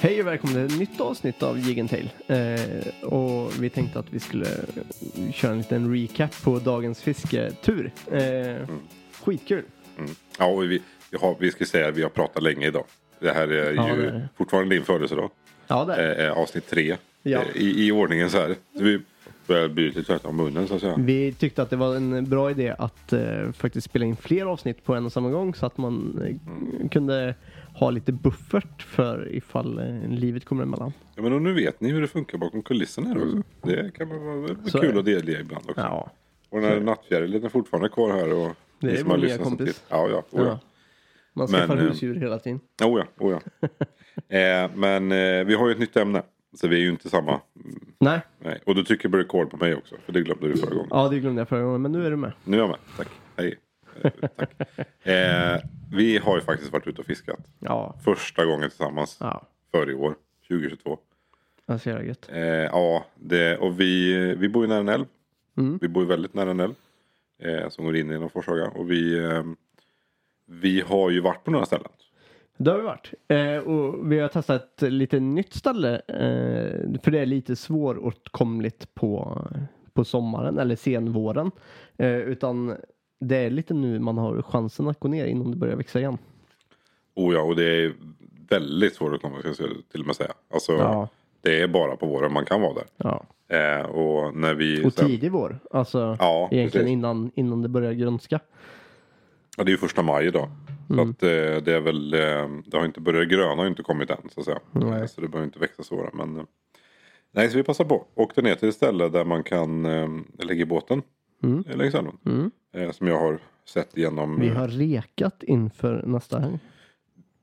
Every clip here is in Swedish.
Hej och välkommen till ett nytt avsnitt av Jig and Tail. Eh, och vi tänkte att vi skulle köra en liten recap på dagens fisketur. Eh, skitkul. Ja, och vi, vi, har, vi ska säga att vi har pratat länge idag. Det här är Ja, ju det är det. fortfarande din födelsedag. Ja, det är det. Eh, eh, avsnitt tre. Ja. Eh, I, I ordningen så här. Så vi börjar bli lite trötta om munnen så att säga. Vi tyckte att det var en bra idé att eh, faktiskt spela in fler avsnitt på en och samma gång så att man eh, kunde ha lite buffert för ifall eh, livet kommer emellan. Ja, men och nu vet ni hur det funkar bakom kulisserna här också. Det kan väl vara väl Mm. Så är kul det. att delge ibland också. Ja, Och den här nattfjärilen är fortfarande kvar här. Och Det ni är som vår har nya lyssnat kompis. samtidigt. Ja, ja. Oh, ja. ja. Man Men, skaffar eh, husdjur hela tiden. Oh, ja, oh, ja. eh, men eh, vi har ju ett nytt ämne. Så vi är ju inte samma. Nej, Nej. Och du tycker på rekord på mig också. För det glömde du förra gången. ja det glömde jag förra gången men nu är du med. Nu är jag med. Tack. Hej. Eh, Tack. Eh, vi har ju faktiskt varit ute och fiskat. Ja, Första gången tillsammans ja. för i år. 2022. Jag ser det gött. Eh, ja, det, och vi, vi bor ju nära en älv. Mm. Vi bor ju väldigt nära en älv. Eh, som går in genom Forshaga. Och vi, eh, vi har ju varit på några ställen. Det har vi varit. Eh, och vi har testat ett lite nytt ställe. Eh, för det är lite svåråtkomligt på, på sommaren eller senvåren. Eh, utan det är lite nu man har chansen att gå ner innan det börjar växa igen. Oh ja, och det är väldigt svårt att komma ska jag till och med säga. Alltså, Ja. Det är bara på våren man kan vara där. Ja. Eh, och när vi... Och sen- tidig vår. Alltså Ja, egentligen precis. innan, innan det börjar grönska. Ja, det är ju första maj idag. Mm. Så att eh, det är väl, eh, det har inte börjat gröna har inte kommit än så att säga. Nej. Så det behöver inte växa så. då, Men, eh, nej, så vi passar på. Åkte ner till ett ställe där man kan eh, lägga i båten. Mm. eh, Längs älven. Mm. Eh, som jag har sett genom. Vi eh, har rekat inför nästa helg.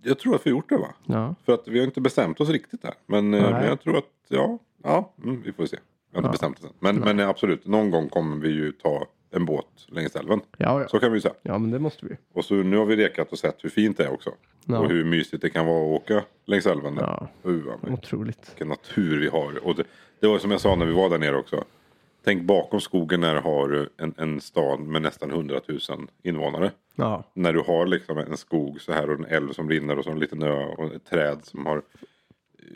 Jag tror att vi har gjort det va? Ja. För att vi har inte bestämt oss riktigt där. Men, eh, Nej. men jag tror att, ja, ja mm, vi får se. Jag har inte Ja. bestämt oss än. Men, men eh, absolut, någon gång kommer vi ju ta en båt längs älven. Ja, ja. Så kan vi ju säga. ja, men det måste vi. Och så nu har vi rekat och sett hur fint det är också. Ja. Och hur mysigt det kan vara att åka längs älven. där. Ja, Uh, vad mycket otroligt. natur vi har. Och det, det var som jag sa när vi var där nere också. Tänk bakom skogen när du har en, en stad med nästan 100 000 invånare. Ja, När du har liksom en skog så här och en älv som rinner och så en liten ö och ett träd som har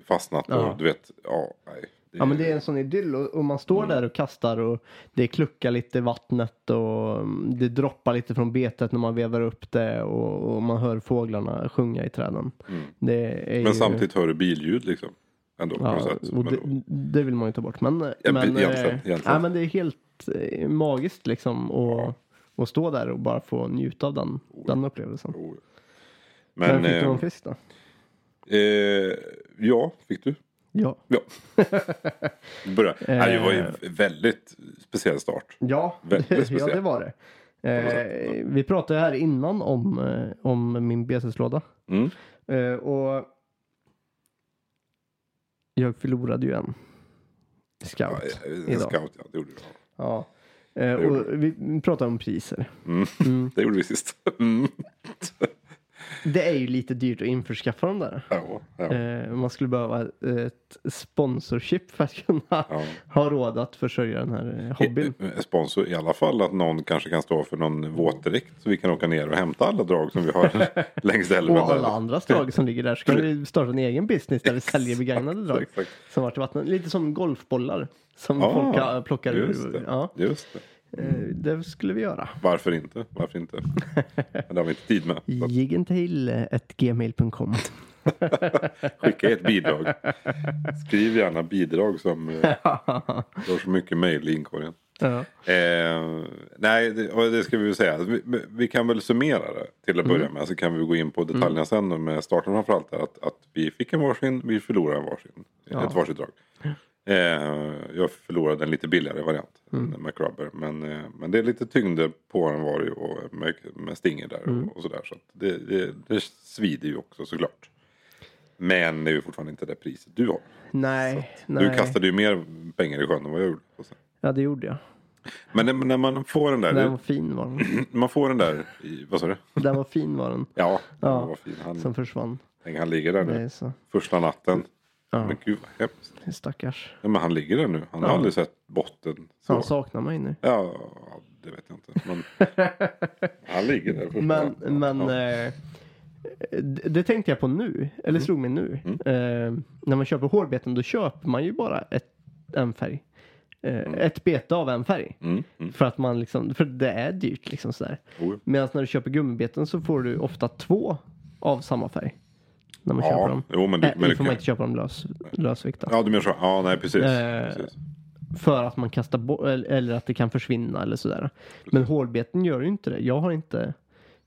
fastnat. Ja. Och du vet, ja. Nej, Ja men det är en sån idyll och, och man Mm. står där och kastar och det kluckar lite i vattnet och mm, det droppar lite från betet när man vevar upp det och, och man hör fåglarna sjunga i träden. Det är ju, Mm. Men samtidigt hör du billjud liksom. Ändå på något ja, sätt. och Men det, då- det vill man ju ta bort. Men, Ja, men, egentligen, eh, egentligen. Ja, men det är helt eh, magiskt liksom och, och stå där och bara få njuta av den, den upplevelsen. Oh, ja. Men, Men, fick du någon eh, fisk då? eh, ja, fick du? Ja. Ja. Börja. Eh. Nej, det var ju en väldigt speciell start. Ja, Väldigt ja speciellt. det var det. något Eh, vi pratade här innan om, eh, om min beteslåda. Mm. Eh, och jag förlorade ju en Ja, eh, scout en idag. scout, ja. Det gjorde, vi. ja. Ja. Eh, gjorde och vi pratade om priser. Mm. det gjorde vi sist. Mm. Det är ju lite dyrt att införskaffa dem där. Ja, ja. Eh, man skulle behöva ett sponsorship för att kunna ha råd att försörja den här eh, hobbyn. Eh, Sponsor i alla fall att någon kanske kan stå för någon våtdräkt så vi kan åka ner och hämta alla drag som vi har längs älven. Och alla andra drag som ligger där. Så kan vi starta en egen business där vi säljer begagnade drag. exakt. Som varit i vattnet. Lite som golfbollar. Som Ah, folk eh, plockar just ur. det. Ja, Just det. eh, det skulle vi göra. Varför inte? Varför inte? Men det har vi inte tid med. Så eh, Jigentail.gmail.com Skicka ett bidrag. Skriv gärna bidrag som eh, du har så mycket mejl i inkorgen. ja. Eh, nej, det, och det ska vi väl säga. Vi, vi kan väl summera det till att Mm. börja med. Så kan vi gå in på detaljerna sen sen med starten framförallt. där, Att, att vi fick en varsin, vi förlorade en varsin. Ett varsitt drag. Eh, jag förlorade en lite billigare variant. Mm. En McRubber. Men, eh, men det är lite tyngde på den var det ju. Och med, med stinger där och, Mm. och sådär. Så att det, det, det svider ju också såklart. Men det är ju fortfarande inte det priset du har. Nej, Du nej. kastade ju mer pengar i sjön än vad jag gjorde. Ja, det gjorde jag. Men när- när man får den där. Den var fin var den. Man får den där, i, vad sa du? Den var fin var den. Ja, Ja. vad fin. Han, Som försvann. tänk, han ligger där nu. Det är så. Första natten. Ja. Men gud vad hemskt. Stackars. Nej, men han ligger där nu. Han har aldrig sett botten. Så. Han saknar mig nu. Ja, det vet jag inte. Men han ligger där första Men, natten. men ja. Mm. eh, D- Det tänkte jag på nu, eller slog mig nu. Eh, när man köper hårbeten då köper man ju bara ett, en färg. Eh, Ett bete av en färg. Mm, mm. För att man liksom, för det är dyrt liksom sådär. Oh, Medan när du köper gummibeten så får du ofta två av samma färg. När man köper ja, dem. jo, men, du, Nej, men nu du får man kan, inte köpa dem lös, lösvikta. Ja, du menar så. Ja, nej, precis. Eh, precis. För att man kastar bort, eller eller att det kan försvinna eller sådär. Men hårbeten gör ju inte det. Jag har inte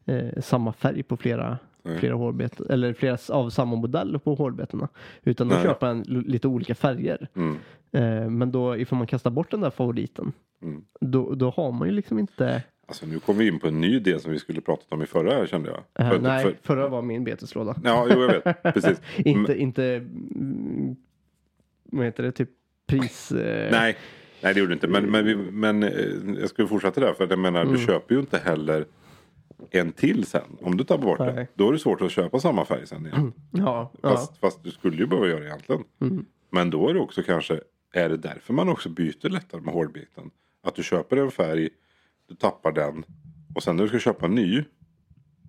eh, samma färg på flera, Nej. flera hårbeten, eller flera s- av samma modell på hårbetena. Utan då Nej. köper jag en, l- lite olika färger. Mm. Eh, men då, ifall man kastar bort den där favoriten, Mm. då, då har man ju liksom inte... Alltså, nu kom vi in på en ny del som vi skulle pratat om i förra kände jag. Eh, För- nej, för- Mm. förra var min beteslåda. Ja, jo, jag vet. Precis. Inte, inte, mm, vad heter det, typ pris... Eh, Nej, nej det gjorde du inte. Men, men, vi, men eh, jag skulle fortsätta där. För att jag menar, Mm. du köper ju inte heller en till sen. Om du tar bort den. Nej. Då är det svårt att köpa samma färg sen igen. Ja, Mm. ja. Fast, fast du skulle ju behöva göra det egentligen. Men då är det också kanske. Är det därför man också byter lättare med hårdbiten? Att du köper en färg. Du tappar den. Och sen när du ska köpa en ny. då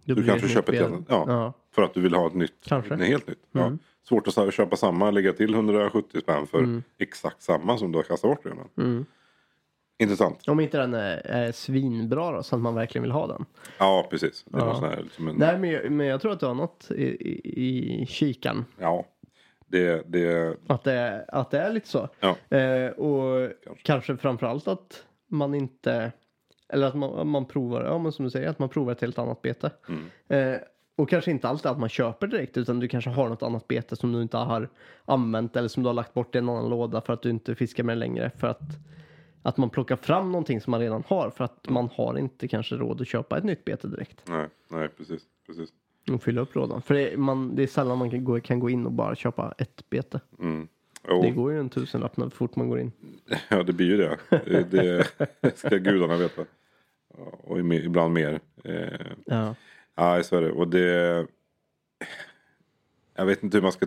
Du blir det kanske ett köper ett nytt annat. ben. Ja, ja. För att du vill ha ett nytt. Kanske. Mm. Ett helt nytt. Ja. Svårt att så- köpa samma. Lägga till 170 spänn för Mm. exakt samma som du har kastat bort redan. Intressant. Om inte den är, är svinbra då, så att man verkligen vill ha den. Ja, precis. Det var Ja. sån här, liksom en, Nej, men jag, men jag tror att du har något i, i, i kikan. Ja, det, det, Att det, att det är lite så. ja, Eh, och kanske. framförallt att man inte... Eller att man, man provar, ja men som du säger, att man provar ett helt annat bete. Eh, och kanske inte alltid att man köper direkt, utan du kanske har något annat bete som du inte har använt eller som du har lagt bort i en annan låda för att du inte fiskar med det längre. För att, att man plockar fram någonting som man redan har för att man har inte kanske råd att köpa ett nytt bete direkt. nej, nej, precis, precis. Och fylla upp lådan. För det är, man, det är sällan man kan gå, kan gå in och bara köpa ett bete. Mm. Det Jo, går ju en tusenlapp när fort man går in. ja, det blir ju det. Eh, Det ska gudarna veta. Ja, Och i- ibland mer. Eh, Ja. Ja, så är det. Och det... Jag vet inte hur man ska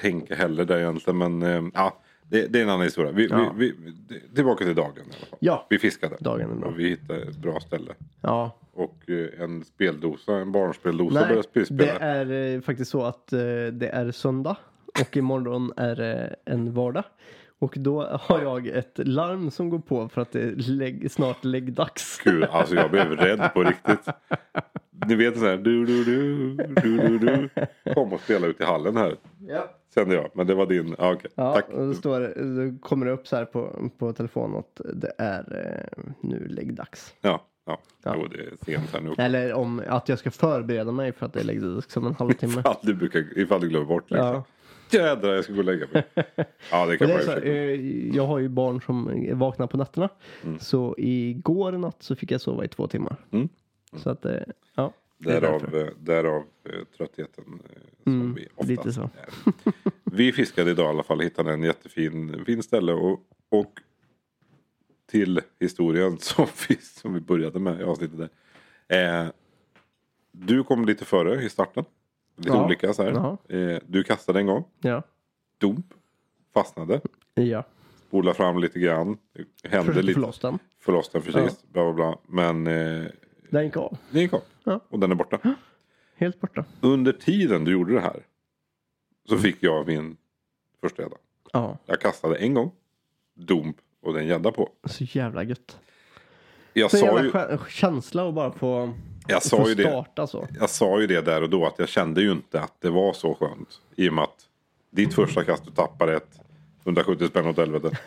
tänka heller där egentligen. Men eh, ja, det, det är en annan historia. Vi, Ja. vi, vi, det- tillbaka till dagen i alla fall. Ja. Vi fiskade. Dagen är bra. Och vi hittade ett bra ställe. ja. Och eh, en speldosa, en barnspeldosa Nej, började sp- spela. det är eh, faktiskt så att eh, det är söndag och imorgon är eh, en vardag. Och då har jag ett larm som går på för att det är lägg, snart läggdags. Gud, alltså jag blev rädd på riktigt. Ni vet så här, du, du, du, du, du, du. Kom och spela ut i hallen här. Ja. Kände jag, men det var din, ja, okej. Ja, Tack. och då, står, det- då kommer det upp så här på, på telefonen att det är eh, nu läggdags. Ja, ja. Ja. Jo, det är sent här nu. också. Eller om att jag ska förbereda mig för att det är läggdags om en halvtimme. Ifall du, brukar, ifall du glömmer bort liksom. Ja. Jädrar, jag ska gå och lägga mig. Ja, det Och kan det är man ju så, här, försöka. eh, jag har ju barn som vaknar på nätterna. Så igår natt så fick jag sova i två timmar. Mm. Så att, eh, ja. det är Därav, därför. eh, därav eh, tröttheten eh, som Mm, vi oftast lite så. är. Vi fiskade idag i alla fall, hittade en jättefin fin ställe. Och, och till historien som vi, som vi började med i avsnittet där. Eh, du kom lite före i starten. Lite Ja. olika så här. Eh, du kastade en gång, Ja. dump, fastnade, Ja. spola fram lite grann. Hände Försökte lite, få loss den. få loss den precis. Bla, bla, bla. Men eh, Den gick av. den gick av. Ja. Och den är borta. Helt borta. Under tiden du gjorde det här. Så fick jag min första gädda. Ja. Jag kastade en gång. Dump. Och den gädda på. Så jävla gött. Jag Så sa, jävla ju, skö- känsla att bara få, jag, få sa ju det, starta så. jag sa ju det där och då. Att jag kände ju inte att det var så skönt. I och med att ditt första kast du tappade ett. 170 spänn åt helvete.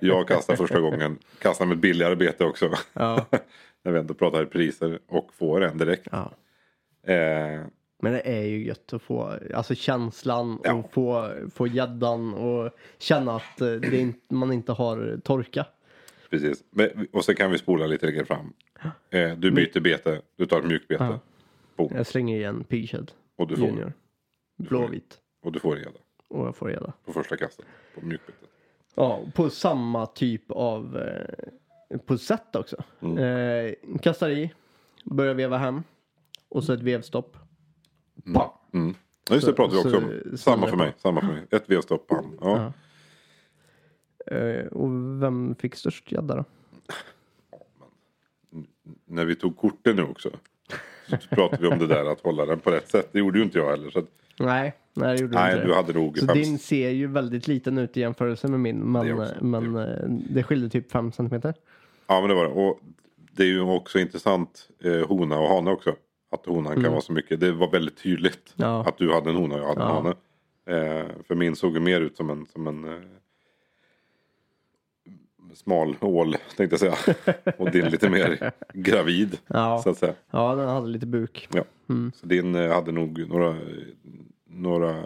Jag kastade första gången. Kastade med ett billigare bete också. Ja. När vi ändå pratar priser. Och får en direkt. ja. Eh, Men det är ju gött att få alltså känslan Ja. och få få gäddan och känna att eh, det är inte- man inte har torka. Precis. Men- Och så kan vi spola lite längre fram. Eh, Du byter bete, du tar ett mjukt bete. Ja. Boom. Jag slänger igen Pighead Och du får, Junior. Blåvit. och du får reda Och jag får reda. på första kastet. På mjukbetet. Ja, på samma typ av eh, på sätt också. Mm. Eh, kastar i, börjar veva hem och så ett vevstopp. Pam! Mm. Ja, just det Så- pratade vi också så- om. så- Samma för mig. Samma för mig. Ett vevstopp, pam. Ja. Eh, och vem fick störst gädda då? När vi tog korten nu också. pratade vi om det där att hålla den på rätt sätt. Det gjorde ju inte jag heller. Så att, Nej, nej det gjorde nej, inte du hade nog Så fem- din ser ju väldigt liten ut i jämförelse med min. Men Det det, också, men, eh, det skilde typ 5 centimeter. Ja men det var det. Och det är ju också intressant eh, hona och hane också. Att honan kan vara så mycket. Det var väldigt tydligt Mm. Ja. att du hade en hona och jag hade Ja. en hane. Eh, för min såg ju mer ut som en, som en eh, smal ål tänkte jag säga. och din lite mer gravid. Ja. Mm. Så att säga. Ja, den hade lite buk. Ja. Så din eh, hade nog några, några eh,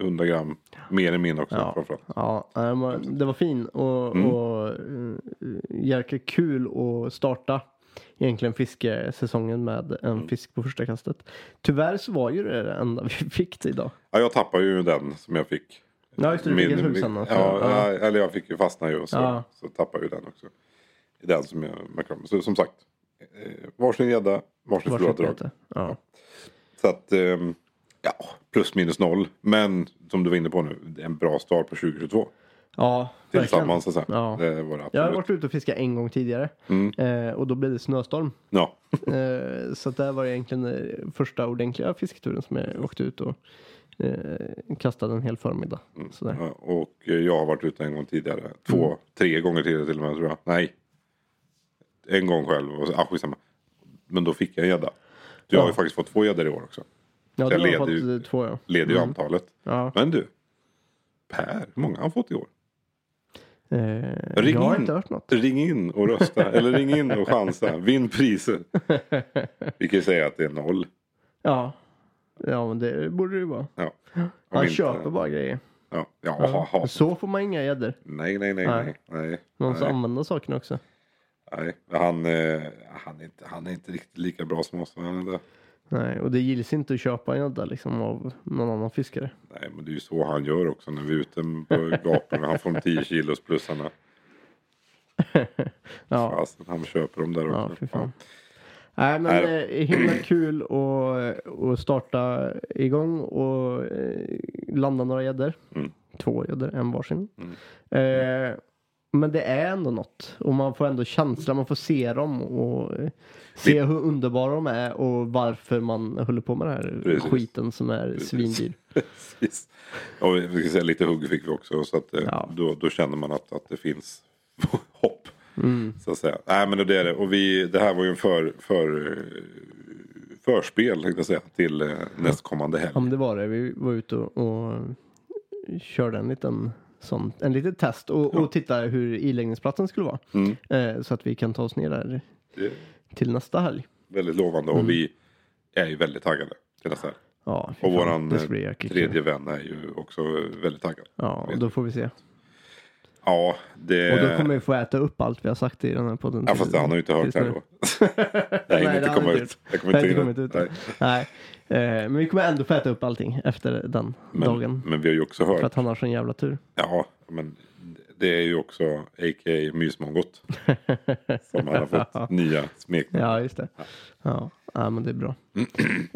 hundra gram mer än min också. Ja, Framförallt. ja nej, men det var fin och, Mm. och eh, jäkla kul att starta egentligen fiskesäsongen med en Mm. fisk på första kastet. Tyvärr så var ju det det enda vi fick till idag. Ja, jag tappade ju den som jag fick. Ja, just det, du fick en hugg sen ja, Typ också. ja. Eller jag fick ju fastna ju och så, Ja. så tappade jag ju den också. Den som jag makrade. Så som sagt. eh, Varsin gädda, varsin Varsågod, förlorat drag. Peter. Ja. Så att ehm, ja, plus minus noll. Men som du var inne på nu, det är en bra start på 2022. ja, verkligen. Tillsammans så att säga. Ja. Det var det Jag har absolut. varit ute och fiskat en gång tidigare Mm. eh, och då blev det snöstorm. Ja, Eh, så att det här var egentligen eh, första ordentliga fisketuren som jag åkte ut och eh, kastade en hel förmiddag. Sådär. Ja, och eh, jag har varit ute en gång tidigare. Två, Mm. tre gånger tidigare till och med tror jag. Nej. En gång själv. Och, så- ah, skitsamma. Men då fick jag en gädda. Du har ju Ja. faktiskt fått två gäddor i år också. Ja, jag det har jag leder fått ju- eh, två ja. Leder ju antalet. ja. Men du. Per, hur många har han fått i år? Eh, Ring jag har in. inte hört något. Ring in och rösta. eller ring in och chansa. Vinn priser. Vi kan ju säga att det är noll. Ja. ja, men det borde det ju vara. Ja. Om Han inte- köper bara grejer. Ja, ja, ja. ja. Så får man inga gäddor. Nej, nej, nej, Nej. nej. nej. Man måste nej. använda sakerna också. nej. Han, eh, han, är inte, han är inte riktigt lika bra som oss. Han är inte. Nej, och det gills inte att köpa en gädda liksom av någon annan fiskare. Nej men det är ju så han gör också när vi är ute på gatorna. Han får de 10 kilos plussarna. Ja, Fasen, han köper dem där ja också. fy fan. Nej men Nej eh, himla kul att eh, att starta igång och eh, landa några gäddor. Mm. Två gäddor, en varsin. Eh, men det är ändå något. Och man får ändå känsla, man får se dem och eh, se Vi- hur underbara de är och varför man håller på med den här Precis. skiten som är svindyr. Precis. Och vi ska säga, lite hugg fick vi också. Så att, eh, Ja. då, då känner man att, att det finns hopp. Mm. Så att säga. Nej men det är det. Och vi, det här var ju en för, för, eh, förspel tänkte jag säga, till eh, nästkommande helg. Ja men det var det. Vi var ute och, och körde en liten sån, en liten test och, och tittade hur iläggningsplatsen skulle vara. Eh, så att vi kan ta oss ner där Mm. Det är till nästa helg. väldigt lovande och vi är ju väldigt taggade. Till nästa helg. Ja, Mm. fy Och fan, våran det eh, ska bli jäkligt kul. tredje vän är ju också väldigt taggad. Ja, och då får vi se. Ja, det... Och då kommer vi få äta upp allt vi har sagt i den här podden. Eh. Ja fast han har ju inte hört Tills det här nu. då. Jag Nej, hinner det inte har komma han ut. gjort. Nej, Jag kommer det inte kommer inte ut. Nej. Nej. Eh, men vi kommer ändå få äta upp allting efter den dagen. Men vi har ju också För hört. att han har sån jävla tur. Ja, men det är ju också a.k.a. Mysmongot. som han har fått nya smeknamn. Ja, just det. Ja, ja men det är bra.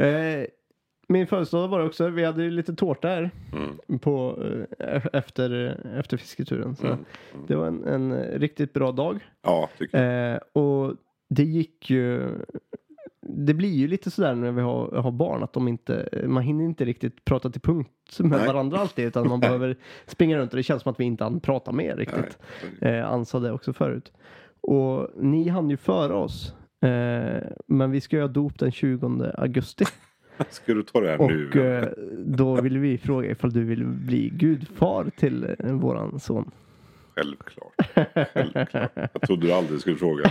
eh, min födelsedag var det också. Vi hade ju lite tårta här Mm. på, eh, efter, efter fisketuren. Så Mm. Det var en, en riktigt bra dag. Ja, tycker jag. Eh, och det gick ju... Det blir ju lite sådär när vi har, har barn att de inte, man hinner inte riktigt prata till punkt med Nej. varandra alltid utan man behöver springa runt och det känns som att vi inte hann prata med riktigt. Eh, Ann sa det också förut. Och ni hann ju före oss. Eh, men vi ska göra dop den 20 augusti. Ska du ta det här Och nu? eh, då vill vi fråga ifall du vill bli gudfar till eh, våran son. Självklart. Självklart. Jag trodde du aldrig skulle fråga.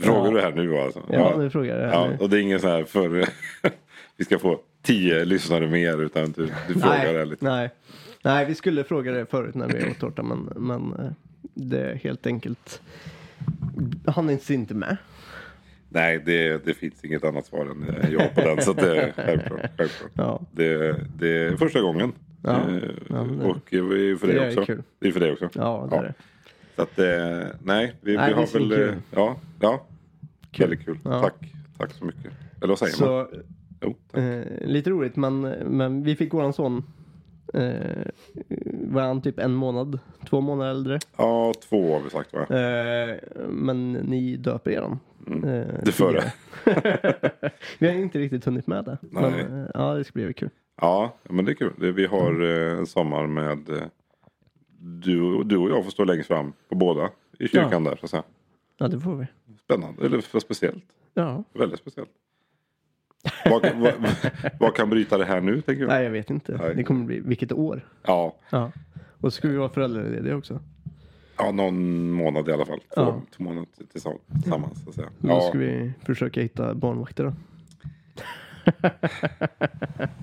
Frågar du det här nu alltså? Ja, nu frågar jag. Ja, och det är ingen så här för vi ska få tio lyssnare mer utan du, du frågar nej, ärligt. Nej. nej, vi skulle fråga det förut när vi åt tårta men, men eh, det är helt enkelt han är inte med. Nej, det, det finns inget annat svar än eh, jag på den. Så att det är självklart. självklart. Ja. Det, det är första gången. Ja, Eh, ja, men det- och det är ju för det dig är också. kul. Det är för dig också. Ja, det är det. Så att, eh, nej, vi, Nej, vi det har är väl... eh, kul. Ja, ja. Kul. Väldigt kul. Ja. Tack. Tack så mycket. Eller vad säger man? Så Jo, tack. eh, lite roligt men, men vi fick våran son Eh, var han typ en månad, två månader äldre? Ja, två har vi sagt va? Eh, men ni döper er dem. Eh, Mm. Det före. tidigare. Vi har inte riktigt hunnit med det. Nej. Men, eh, ja, det ska bli kul. Ja, men det är kul. Det- Vi Mm. har eh, en sommar med eh, du, du och jag får stå längst fram på båda i kyrkan där. Så att säga. Ja, det får vi. Spännande, eller för speciellt. Ja. Väldigt speciellt. Vad, kan- vad, vad kan bryta det här nu tänker jag? Nej, jag vet inte. Nej. Det kommer bli vilket år. Ja, Ja. Och så ska vi vara föräldralediga också. ja, någon månad i alla fall. Två, Ja. två månader tillsammans. tillsammans så att säga. Då Ja, ska vi försöka hitta barnvakter då.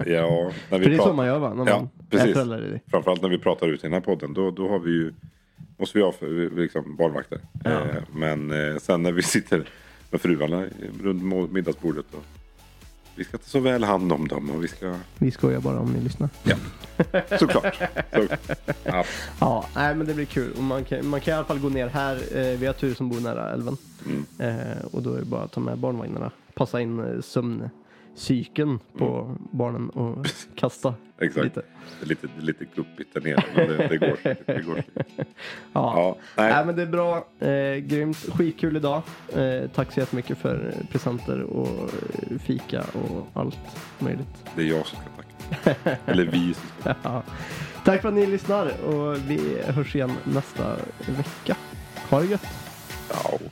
ja, när För det vi är så pratar, man gör va? När Ja, man är precis. föräldraledig. framförallt när vi pratar ut i den här podden. Då, då har vi ju, måste vi ha för, liksom, barnvakter. Eh, men eh, sen när vi sitter med fruarna runt må- middagsbordet. Då, vi ska ta så väl hand om dem. Och vi ska, Vi skojar bara om ni lyssnar. ja, såklart. Så, ja, Ja, nej men det blir kul. Och man, kan, man kan i alla fall gå ner här. Eh, vi har tur som bor nära älven. Mm. Eh, och då är det bara att ta med barnvagnarna. Passa in eh, sömncykeln på barnen och kasta Mm. exakt. lite. Det är lite, det är lite guppigt där nere. Men det, det går. Det går. Ja. Ja, Nej. nej, men det är bra, eh, grymt, skitkul idag. Eh, tack så jättemycket för eh, presenter och eh, fika och allt möjligt. det är jag som ska tacka. Eller vi som ska Ja. Tack för att ni lyssnar och vi hörs igen nästa vecka. Ha det gött! tacka. Ja.